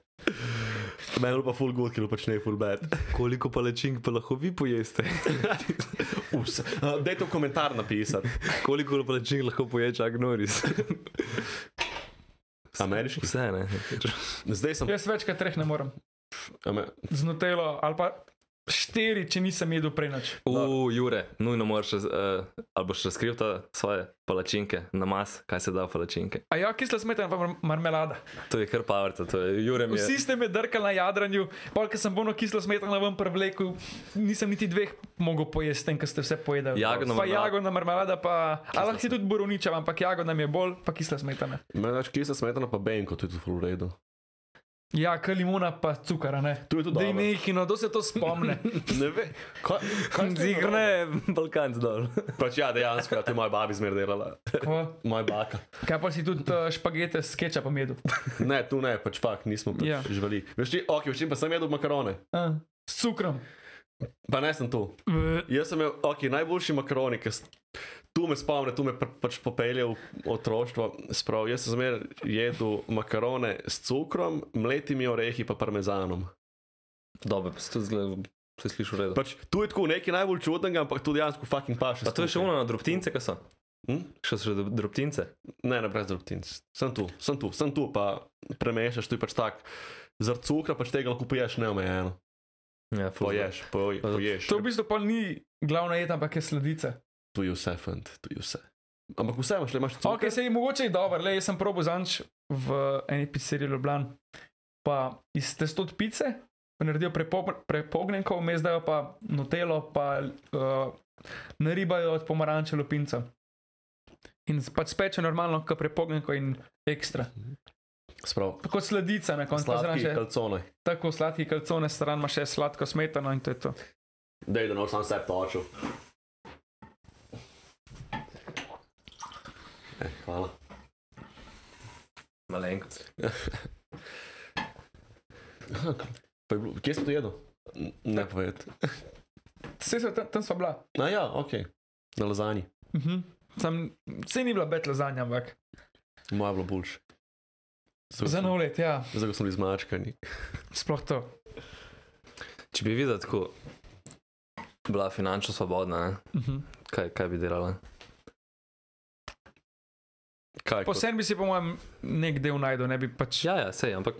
Meni je bilo pa full good, ker je bilo pač ne full bed.
Koliko palačink pa lahko vi pojeste?
Vse. Uh, Dajte v komentar napisati.
Koliko palačink lahko poje Chuck Norris?
Ameriški.
Vse ne.
Zdaj sem.
Jaz več kot treh ne morem.
Ame,
Z notelo ali pa štiri, če nisem jedel prej noč.
Uf, Jure, nujno moraš, raz- eh, ali boš razkril ta svoje palačinke, namaz, kaj se da v palačinke.
A ja, kisla smetana pa mar- marmelada.
To je kar pavrta, to je Jure mi je.
Ja.
Vsi ste me drkali na jadranju, polk sem bolno kislo smetano vam prevlekel, nisem niti dveh mogel pojesti, tem, ker ste vse pojedali.
Jagodna
pa
marmelada.
jagodna marmelada, pa a lahko si tudi borovničam, ampak jagodna mi je bolj, pa kisla smetana.
meni več kisa smetana pa benko, to je tudi full redo.
Ja, k limona pa cukara, ne.
To je tudi
Dej
dobro.
nekino, do se to spomne.
Ne ve. Kaj? kaj ste narobe?
Zigrne, Balkanc dol.
Pač ja, dejansko, ja, to je moja babi zmer delala.
Ko-
Moja baka.
Kaj pa si tudi uh, špagete s kečapom jedel?
Ne, tu ne, pač fakt, nismo pač
Ja.
yeah. živeli. Veš ti, ok, veš ti, pa sem jedel makarone.
Uh, s cukrom.
Pa ne sem tu. Jaz sem imel okay, najboljši makaroni, ki s- tu me spomne, tu me pr- pač popelje v otroštvo. Sprav, jaz sem zmeraj jedel makarone s cukrom, mletimi orehi pa parmezanom.
Dobro, pa se tudi zgleda, se sliši v redu.
Pač, tu je tako nekaj najbolj čudnega, ampak tu dejansko fucking paše.
Pa to je še
skupaj.
uno na drobtince, kaj so?
Hm?
Še so še drob- drobtince?
Ne, ne, brez drobtinc. Sem tu, sem tu, sem tu, pa premešaš, tu je pač tak. Zaradi cukra pač tega lahko poješ neomejeno.
Ja, ful zgleda.
Poješ, poj,
Pa zato-
poješ.
To v bistvu pa ni glavna jed, ampak je sledica.
Tu je vse, fant, tu je vse. Ampak vse imaš, le imaš
Ok,
cukor.
se je mogoče je dobro, le jaz sem probo zanč v eni pizzeriji Ljubljan. Pa iz testo od pice, pa naredijo prepog- prepognjenko, vmes dajo pa notelo, pa uh, naribajo od pomaranče lupinca. In s- pač speče normalno, kot prepognjenko in ekstra.
Sprav,
Kot sladica na koncu. pa zraven
sladki
še-
kalcone.
Tako sladki kalcone, stran ima še sladko smetano in to je to.
Dej, da ne boš sam sebe točil. Eh, hvala.
Malenkost.
Pa je bilo- Kje si to jedel? N- Ne povedati.
Vse so tam, tam so bila.
Na ja, ok. Na lazanji.
Mhm. Sam, vse ni bila betla za njim, ampak
Moja je bila boljša. Zato
za
sem-
nov let, ja,
Zato smo bili zmačkani.
sploh to.
Če bi videla tako, bila finančno svobodna, ne?
Mhm.
kaj, kaj bi delala?
Kaj?
Po
kot-
vsem bi si, po mojem, nek del najdel, ne bi pač.
Ja, ja, sej, ampak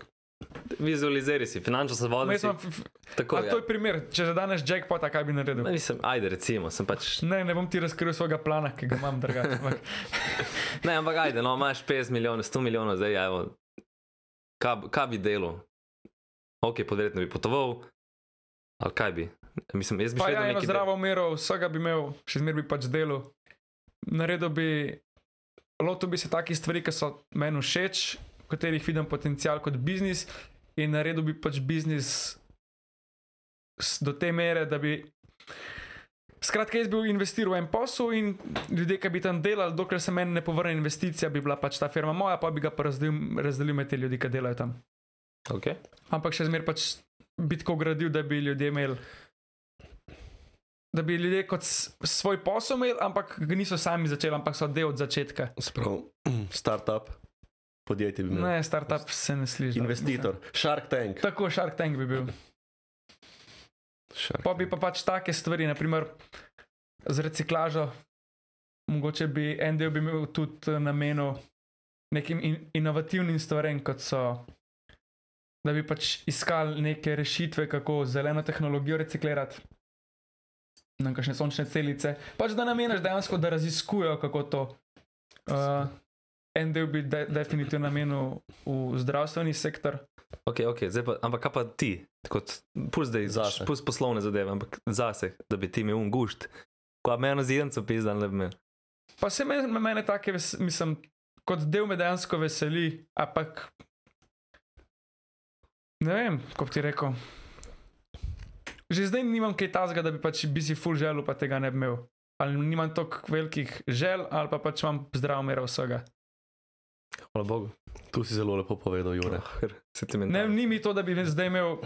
vizualiziraj si, finančno svobodna.
Jaz
Si,
sem, f- f-
tako,
a
ja.
to je primer, če zadaneš jackpota, kaj bi naredil.
Ma Mislim, ajde, recimo, sem pač.
Ne, ne bom ti razkril svojega plana, ki ga imam drugače. ampak
Ne, ampak ajde, no, imaš 50 milijonov, 100 milijonov, zdaj ja, evo. Kaj, b- kaj bi delal? Ok, podredno bi potoval, ali kaj bi? Mislim, jaz bi
Pa
še
ja,
vedno
eno
nekaj delal.
zdravo mero, vsega bi imel, še zmeraj bi pač delal. Naredil bi, lotil bi se takih stvari, ki so meni všeč, v katerih vidim potencial kot biznis, in naredil bi pač biznis s- do te mere, da bi. Skratka, jaz bi investiral v en posel in ljudje, ki bi tam delali, dokler se meni ne povrne investicija, bi bila pač ta firma moja, pa bi ga pa razdelil, razdelil med te ljudi, ki delajo tam.
Okay.
Ampak še zmeraj pač bi tako gradil, da bi ljudje imeli. Da bi ljudje kot s- svoj posel imeli, ampak ga niso sami začeli, ampak so del od začetka.
Sprav, startup, podjetje bi imel.
Ne, startup se ne sliši.
Ja. Investitor, Shark Tank.
Tako Shark Tank bi bil.
Shark
Pa bi
Tank.
pa pač take stvari, naprimer z reciklažo, mogoče bi en del bi imel tudi eh, namenil nekim in, inovativnim stvarem, kot so. Da bi pač iskali neke rešitve, kako zeleno tehnologijo reciklirati, na kakšne sončne celice. Pač da nameniš dejansko, da raziskujejo, kako to. Uh, en del bi de definitivno namenil v zdravstveni sektor,
Ok, ok, zdaj pa, ampak kaj pa ti, kot pusti zdaj,
Zase.
pusti poslovne zadeve, ampak zase, da bi ti imel un gušt, ko me eno zidenco pizdan, le bi imel.
Pa se meni, meni take, ves- mislim, kot del me dejansko veseli, ampak ne vem, kako ti rekel. Že zdaj nimam kaj tazga, da bi pač bi si full želel, pa tega ne bi imel. Ali nimam toliko velikih žel, ali pa pač imam zdrav mero vsega.
Hvala Bogu.
Tu si zelo lepo povedal, Jure.
Oh, se ti meni.
Ne, ni mi to, da bi zdaj imel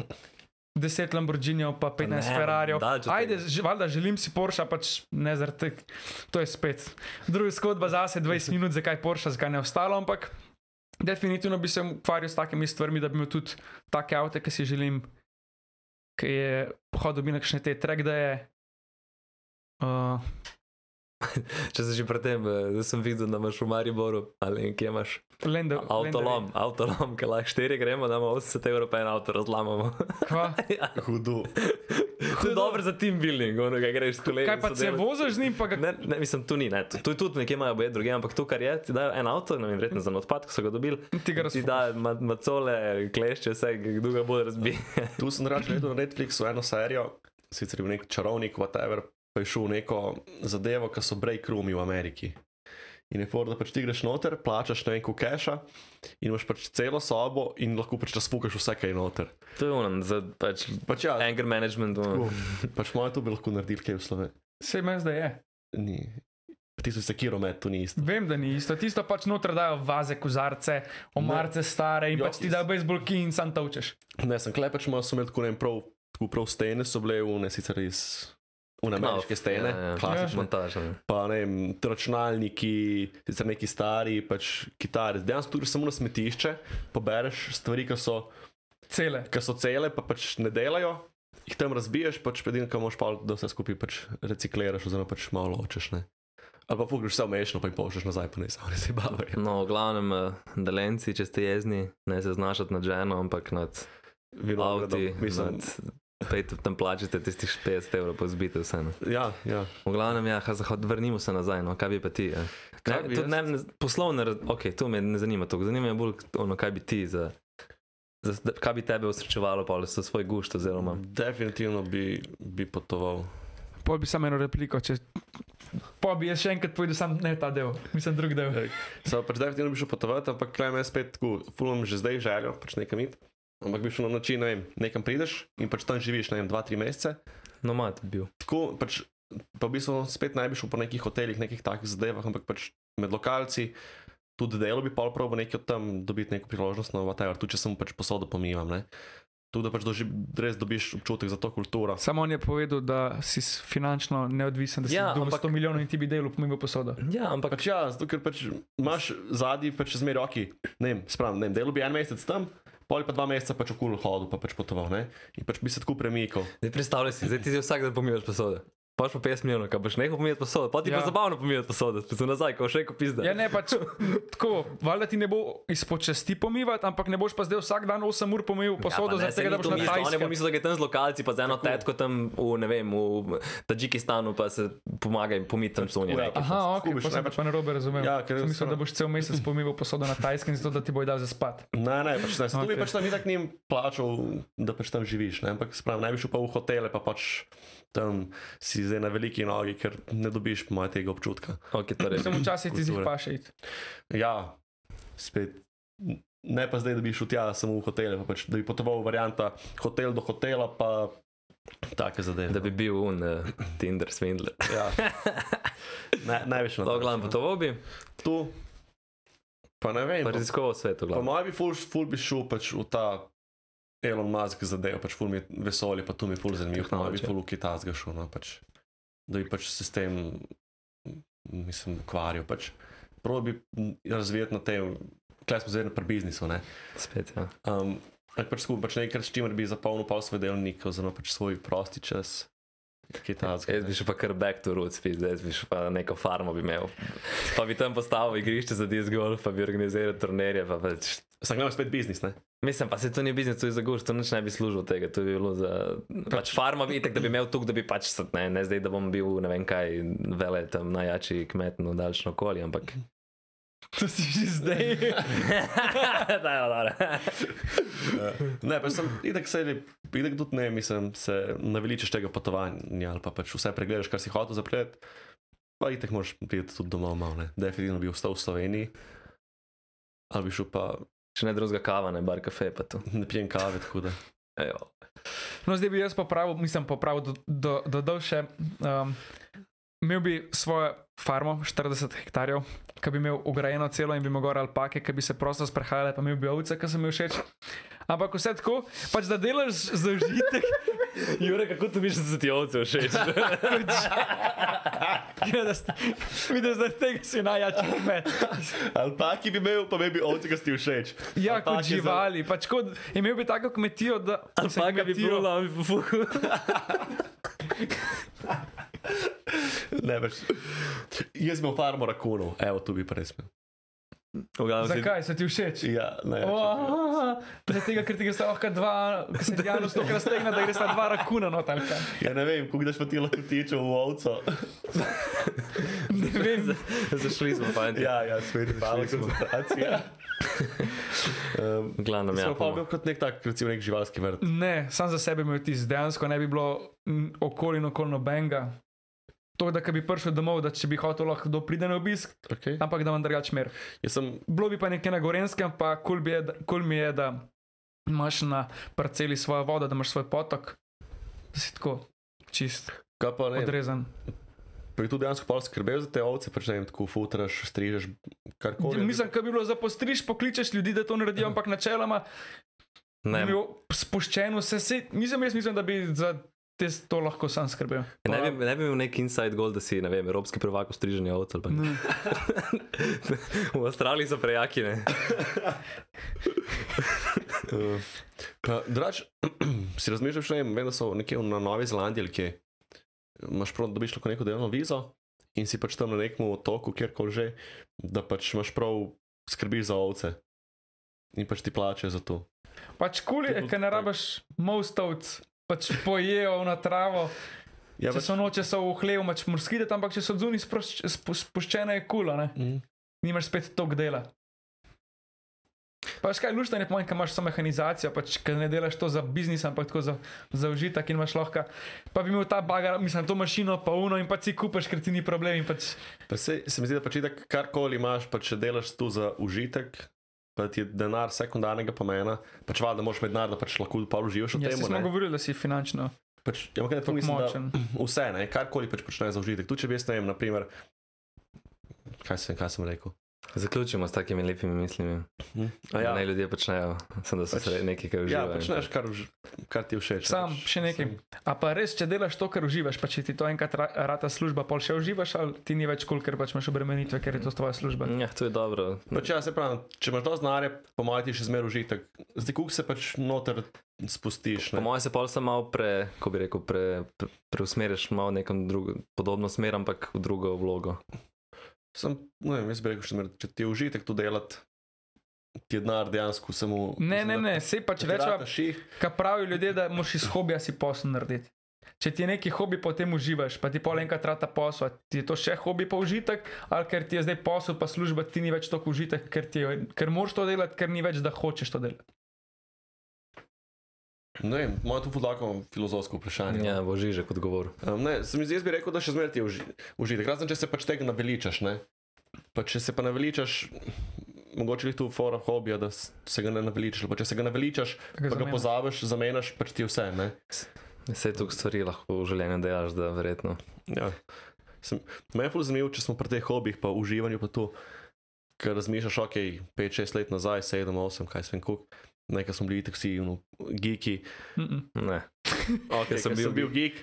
10 Lamborghinijev, pa 15
ne,
Ferrarijev.
daleč od
Ajde,
tega.
že- valjda želim si Porsche, pač ne zaradi tega. To je spet druga zgodba za se 20 minut, zakaj Porsche, zakaj ne ostalo, ampak definitivno bi se ukvarjal s takimi stvarmi, da bi imel tudi take avte, ki si želim, ki je hodil bi na kakšne te trek, da je. Uh,
Če si že pred tem, eh, da sem videl, da imaš v Mariboru ali in kje imaš
Lender,
avtolom, avtolom, ki lahko štiri gremo, da imamo 80 evrov, pa en avto razlamamo.
Kva?
ja,
Hudo.
to je dobro za team building, ono, kaj greš s kolegi.
Kaj pa se
sodelavci.
voziš z njim, pa ga
Ne, ne, mislim, tu ni, ne. Tu, tu je tudi nekje imajo boje druge, ampak to, kar je, ti dajo en avto, ne vem, verjetno za en odpad, ki so ga dobili.
ti ga
Ti
razumeš.
da ma- macole, klešče, vse, kdo ga bo razbil.
Tu sem drugače gledal na Netflixu eno serijo, sicer je bil nek čarovnik, whatever, pa je šel v neko zadevo, ki so break roomi v Ameriki. In je for, da pač ti greš noter, plačaš na enko keša in imaš pač celo sobo in lahko pač razpukaš vse, kar je noter.
To je ono, za pač
Pač ja,
anger management. ono.
pač moje to bi lahko naredili, kaj v Sloveniji.
Sej meni zdaj je.
Ni. Pa Ti so se kiro med, to ni isto.
Vem, da ni isto. Tisto pač noter dajo vaze, kozarce, omarce stare in
Ja,
pač ti dajo bejzbolki in sam točeš.
Ne, sem klej pač malo, so imeli tako ne vem, prav, tako prav stene so bile, une sicer iz. Unameriške
Knopf,
stene,
ja, ja.
klasične.
Montaža. ne.
pa ne vem, računalniki, sicer neki stari, pač kitare. Dejansko tu greš samo na smetišče, pobereš stvari, ki so,
Cele.
ki so cele, pa pač ne delajo. Jih tam razbiješ, pač edino, kar moš pa, da vse skupaj pač recikliraš, oziroma pač malo ločeš. Ne? Ali pa pogreš vse umešno, pa jim pošlješ nazaj, pa ne se oni se bavajo.
No, v glavnem, eh, delenci, če ste jezni, ne se znašati nad ženo, ampak nad avti.
Vinogradom, mislim.
nad- Pejte tam plačite tistih 50 evrov, pa zbite vse. Ne.
Ja, ja.
V glavnem, ja, ha, zahod, vrnimo se nazaj, no, kaj bi pa ti. Ja.
Kaj
Ne,
bi
tudi ne,
jaz?
ne, poslovne, raz- ok, to me ne zanima toliko, zanima me bolj, ono, kaj bi ti za. za da- Kaj bi tebe osrečevalo, pa za svoj gušt, oziroma
Definitivno bi, bi potoval.
Pol bi samo eno repliko, če Pa bi jaz še enkrat povedal, sam ne ta del, mislim drug del.
Samo pač definitivno bi šel potovati, ampak klem jaz spet tako, fulom že zdaj željo, pač nekam iti. Ampak bi šel na način, ne vem, nekam prideš in pač tam živiš, ne vem, dva, tri mesece.
Nomad bi bil.
Tako pač, pa v bistvu spet naj bi šel po nekih hotelih, nekih takih zadevah, ampak pač med lokalci. Tudi delo bi pa probo nekaj od tam dobiti neko priložnost, no, whatever, tudi če sem pač posodo pomivam, ne. Tudi da pač doži, res dobiš občutek za to kulturo.
Samo on je povedal, da si s- finančno neodvisen, da si
Ja,
ja, dobil
ampak-
ampak... 100 milijonov in ti bi delal pomimo posodo.
Ja, ampak
Pač ja, zato ker pač imaš zadnji, pač zmeraj roki, ne vem, spravim, ne vem, delo bi en mesec tam, pol pa dva meseca pač okul hodil, pa pač potoval, ne. In pač bi se tako premikal.
ne predstavljaj si, zdaj ti si vsak dan pomivaš posode. Paš pa 50 milijonov, kaj boš nehal pomivati posode, pa ti ja.
Ja.
pa zabavno pomivati posode, pa se nazaj, ko še ko pizda.
Ja, ne pač tako, valjda ti ne bo izpočasti pomivati, ampak ne boš pa zdaj vsak dan 8 ur pomil posodo,
ne,
ja, zaradi tega, da boš na
tajskem. Ne bom
tajskem.
mislil, da je tam z lokalci, pa z eno tetko tam v, ne vem, v Tadžikistanu, pa se pomaga in pomiti tam sonje.
Ja.
nekaj.
Aha, ok,
Skubiš,
pa sem
ne, pač-
pač pa narobe razumel.
Ja, ker
Sem mislil, da
samo-
boš cel mesec pomival posodo na tajskem, zato da ti bo dal za spat.
Ne, ne, pač ne. Okay. Tu bi
Okej.
pač tam itak njim plačal, da pač tam živiš. Ne? Ampak sprav, naj bi šel pa v hotele, pa pač tam si zdaj na veliki nogi, ker ne dobiš po mojem tega občutka.
Ok, torej.
Sem včasih ti zih
Kultura.
pa še iti.
Ja, spet. Ne pa zdaj, da bi šel tja samo v hotele, pa pač, da bi potoval varianta hotel do hotela, pa take
Ja.
zadeve.
Da bi bil un uh, Tinder svindler.
Ja. Naj, največ na
No, glavno, potoval bi,
Tu, pa ne vem.
pa
pa-
raziskoval svet, v
Po
glavnem.
mojem bi ful, ful bi šel pač v ta Elon Musk zadev, pač ful mi je vesolje, pa tu mi je ful zanimivo, no, bi
Tehnologija.
ful v Kitajsko šel, no, pač, da bi pač se s tem, m, mislim, ukvarjal. Pač. Prav bi m, razvijati na tem, kaj smo zdaj na biznisu. Ne.
Spet, ja.
Um, ampak pač skupaj pač nekaj, s čimer bi zapolnil pa svoj delovnik, oziroma pač svoj prosti čas. Kitajsko.
Jaz bi šel pa kar back to roots, pizda, jaz bi šel pa neko farmo bi imel. Pa bi tam postavil igrišče za disc golf, pa bi organiziral turnirje, pa pač
Sam gledam spet biznis, ne?
Mislim pa se to ni biznis, to je za guž, to nič ne bi služil tega. To bi bilo za. Pač farma bi itek, da bi imel tu, da bi pač sad, ne, ne zdaj, da bom bil ne vem kaj, vele tam najjači kmet na daljšno okolje, ampak.
To si že zdaj.
da, ja, dobro.
Ne, pa sem itek se, itek tudi ne, mislim, se naveličeš tega potovanja ali pa pač vse pregledaš, kar si hotel zapreti. Pa itek moraš priti tudi domov, malo, ne. Definitivno bi ostal v Sloveniji. Ali bi šel pa,
Še ne drugega kava, ne bar kafe, pa tu.
ne pijem kave, tako da.
Ejo.
No, zdaj bi jaz popravil, mislim, popravil, do- do- dodal še. Um, imel bi svojo farmo, 40 hektarjev, ki bi imel ugrajeno celo in bi imel gor alpake, ki bi se prosto sprehajale, pa imel bi ovce, ki sem jim všeč. Ampak vse tako, pač da delaš za užitek,
Jure, kako tu misliš, da se ti ovce všeč?
ja, da sta- vidiš, da tega si najjačji kmet.
Alpaki bi imel, pa bi ovce, ki ti všeč.
Ja, kot
Alpake za-
živali, pač kot, imel bi tako kmetijo, da mislim,
Alpaka bi
kmetijo.
plula, bi pofuhal.
Ne več. Jaz bi imel farmo rakunov, evo, tu bi prej smel.
Zakaj se ti všeč?
Ja, ne.
Oh, Zaradi tega, ker ti greš lahko dva, ki se Janu stokrat stegne, da greš dva rakuna notalka.
Ja, ne vem, kako daš pa ti lahko tiče v ovco.
Ne vem,
Zašli smo, fanti.
Ja, ja, smeri, malo koncentracija. Um,
V glavnem, ja.
Smo pa
bomo.
bil kot nek tak, recimo, nek živalski vrt.
ne, sam za sebe imel ti dejansko ne bi bilo mm, okoli in okolno benga. To, da ko bi prišel domov, da če bi hotel, lahko kdo pride na obisk,
Okay.
ampak da imam drugač mer.
Jaz sem,
Bilo bi pa nekje na Gorenskem, pa kul cool cool mi je, da imaš na parceli svojo vodo, da imaš svoj potok, da si tako čist,
kaj pa ne,
odrezan.
pa je tudi dejansko pol skrbel za te ovce, pač ne vem, tako futraš, strižeš, karkoli.
Mislim, da bi bilo za postriž, pokličeš ljudi, da to naredijo, ampak načeloma
Ne,
Ne. Bil spuščen vse, se, mislim, jaz mislim, da bi za te to lahko sam skrbel.
ne bi, ne bi imel nek inside goal, da si, ne vem, evropski prvak v striženju ovc ali pa
Ne.
V Avstraliji so prejaki, ne?
Uh, pa Drugač, si razmišljaš, ne vem, vem, da so nekje na Novi Zelandiji ali kje. Imaš prav, da dobiš lahko neko delovno vizo in si pač tam na nekem otoku, kjerkoli že, da pač imaš prav, skrbiš za ovce. In pač ti plačajo za to.
Pač kul je, ker ne rabiš mostovc, pač pojejo na travo.
Ja,
Če so noče so v hlevu, pač morski, ampak če so odzuni spuščene je kula, ne?
Mm.
nimaš spet tok dela. Pa še Pač kaj lušta ne pomeni, ker imaš samo mehanizacijo, pač ker ne delaš to za biznis, ampak tako za, za užitek in imaš lahko. Pa bi imel ta bagar, mislim, to mašino, pa uno in pa si kupaš, ker ti ni problem. in Pač,
Pa se, se mi zdi, da pač itak karkoli imaš, pa če delaš tu za užitek, pa ti je denar sekundarnega pomena, pač vada, da moraš med denar, da pač lahko pa uživaš v
ja,
tem.
saj smo govorili, da si finančno
Pač, ja, ampak ne, to
tako
mislim, da
močen.
vse, ne, karkoli pač počneš za užitek. Tu če bi jaz, ne vem, naprimer, kaj sem, kaj sem rekel.
Zaključimo s takimi lepimi mislimi.
Hm? A
Ja.
Ja,
Naj ljudje počnejo, sem da so
Pač-
pač, nekaj, kar
ja
uživajo.
počneš, kar, vž- kar ti je všeč.
Sam
pač,
še nekaj.
samo-
A pa res, če delaš to, kar uživaš, pa če ti to enkrat ra- rata služba, pol še uživaš, ali ti ni več kul, ker pač imaš obremenitve, ker je to tvoja služba.
Ja, to je dobro.
Pač ja, se pravi, če imaš dosti denarja, pomaj ti še zmeraj užitek. Zdaj, kuk se pač noter spustiš.
Po
Ne?
mojem se pol sem malo pre, ko bi rekel, pre, pre, preusmeriš malo v neko drugo, podobno smer, ampak v drugo vlogo.
Sem, ne vem, jaz bi rekel, še zmeraj, če ti je užitek to delati, ti je denar dejansko samo.
Ne, ne, ne, sej pač
Če
rečeva,
rečeš, jih
Kaj pravijo ljudje, da moraš iz hobija si posel narediti. Če ti je neki hobi, potem uživaš, pa ti pol enkrat rata posel, a ti je to še hobi pa užitek, ali ker ti je zdaj posel pa služba, ti ni več toliko užitek, ker, ti je, ker moraš to delati, ker ni več, da hočeš to delati.
Ne vem, malo je to podlako filozofsko vprašanje.
Ja, bo žižek odgovor.
Um, ne, se mi zdi, jaz bi rekel, da še zmeraj ti je uži, užitek, razen če se pač tega naveličaš. Ne? Pa če se pa naveličaš, mogoče je tu fora hobija, da s- se ga ne naveličaš, ali pa če se ga naveličaš,
Ga
pa ga
zamenjaš.
pozabiš, zamenjaš, pač ti je vse. Ne?
Vse tu stvari lahko v življenju delaš, da verjetno.
Ja. Sem, me je ful zanimivo, če smo pri teh hobijih, pa uživanju, pa to, ker razmišljaš, ok, 5-6 let nazaj, 7-8, kaj sem kuk. Nekaj smo bili tako vsi, no, geeki.
Mm -mm.
Ne.
Okay,
sem
sem,
bil
bil sem bil geek.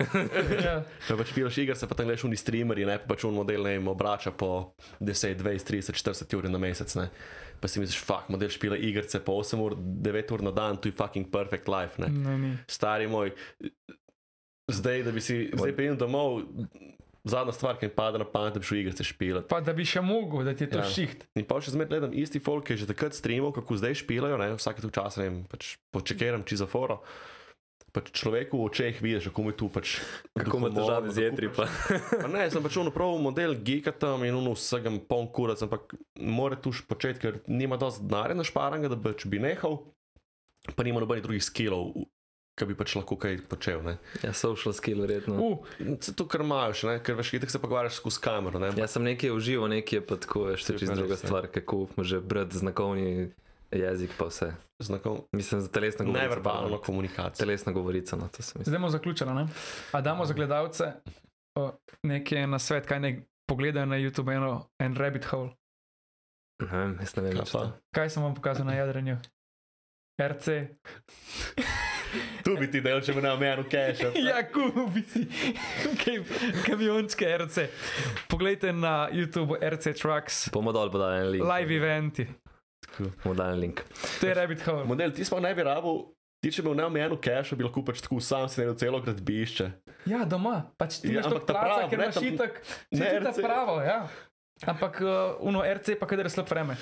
Ja.
Ker pač pilaš igre, se pa tam gledaš, oni streamerji, ne pa pač on model ne jim obrača po 10, 20, 30, 40 ur na mesec. Ne. Pa si misliš, fuck, model špila igrice po 8 ur, 9 ur na dan, tu je fucking perfect life. Ne.
Ne, ni.
Stari moj, zdaj, da bi si, zdaj prijem domov, zadnja stvar, ki mi pade na pamet, da bi šel igrice špilati.
Pa da bi še mogel, da ti je to
Ja.
ja. šiht.
In pa še zmeraj gledam isti folk, ki je že takrat streamal, kako zdaj špilajo, ne, vsake tu čas, ne vem, pač počekeram čiza foro. Pač človeku v očeh vidiš, kako mu je tu pač.
Kako ima
duhomorno,
težave z
kako
jedri, pa
Pa ne, sem pač ono prav model geeka tam in ono vsegem poln kurac, ampak mora tuš početi, ker nima dosti denarja na šparanga, da pač bi nehal, pa nima nobenih drugih skillov, ki bi pač lahko kaj počel. Ne.
ja, social skill verjetno.
Uh,
Se to kar imajo še, ne, ker veš, itak se pogovarjaš skozi kamero, ne.
Ja, sem nekje uživo, nekje pa tako, veš, to je
Saj
čisto
pa res,
druga
ja.
stvar, kako že brati znakovni jezik, pa vse.
Znakov,
Mislim, za telesno govorico.
neverbalno no.
pardon.
komunikacija.
Telesna govorica, no, to sem mislil.
zdaj bomo zaključili, ne? A damo za gledalce o, nekaj na svet, kaj ne pogledajo na YouTube, eno, en rabbit hole.
Ne vem, jaz ne vem,
Ja,
več
pa.
to.
Kaj sem vam pokazal na jadranju? RC.
Tu bi ti del, če me ne omenil, cache. ali pa-
Ja, kupi si Kaj- kamiončke RC. Poglejte na YouTube RC Trucks,
Bomo dol podali en link.
live eventi,
Bomo dali en link.
to je rabbit hole.
Model, ti sploh ne bi rabil, ti če bi ne omenil, cache, bi lahko pač tako sam si naredil celo gradbišče.
Ja, doma, pač ti
Ja,
imaš to
ampak ta
placa,
prava,
ker
ne,
imaš
tam-
itak,
ne
ne ta
RC.
pravo, ja. Ampak uh, uno RC pa kadar je slab vreme.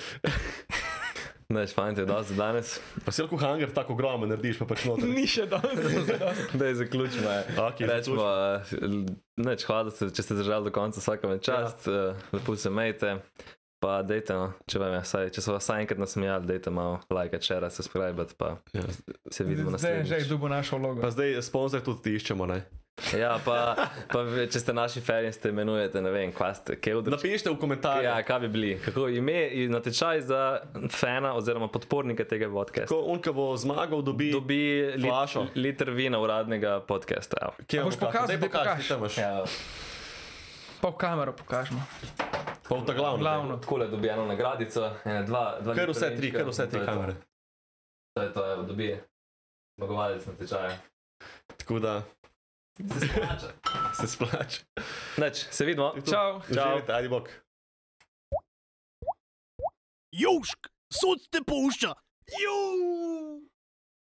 Neš, fajn, je dosti za danes.
Pa si lahko hangar tako ogromen narediš, pa pač noter.
Ni še danes.
Da je zaključimo. je.
Ok,
Rečemo, eh, nič, hvala, da ste, če ste držali do konca, vsaka vam čast, ja. lepo se mejte. Pa dejte, no, če, vam je vsaj, če so vas vsaj enkrat nasmejali, dejte malo like, share, subscribe, pa
Ja.
se vidimo
Zdaj je že
naslednjič.
dubo našo
Pa
logo.
zdaj sponzor tudi iščemo, ne?
Ja, pa, pa ve- če ste naši feri in ste imenujete, ne vem, kva ste, kje vdrčite.
Napišite v komentarjih.
Ja, kaj bi bili? Kako ime in natečaj za fana oziroma podpornika tega podcasta?
Ko on, ki bo zmagal, dobi.
Dobi lit,
flašo.
liter vina uradnega podcasta. evo.
A
Kje
boš
bo kakšen?
pokazal,
Daj
daj
pokaži,
pokaži.
tam imaš.
Ja,
Pa v kamero pokažemo.
Pa v ta glavno.
Glavno.
tako le dobi eno nagradico, ene, dva, dva
Ker
liter
vse tri,
vinčka,
ker vse
to
tri
je to.
kamere.
To je to, evo, dobi zmagovalec natečaja.
Tako da
Se splača.
se splača.
Neč, se vidimo.
Čau.
Uživajte, ajdi bok.
Južk, sod te pušča. Južk.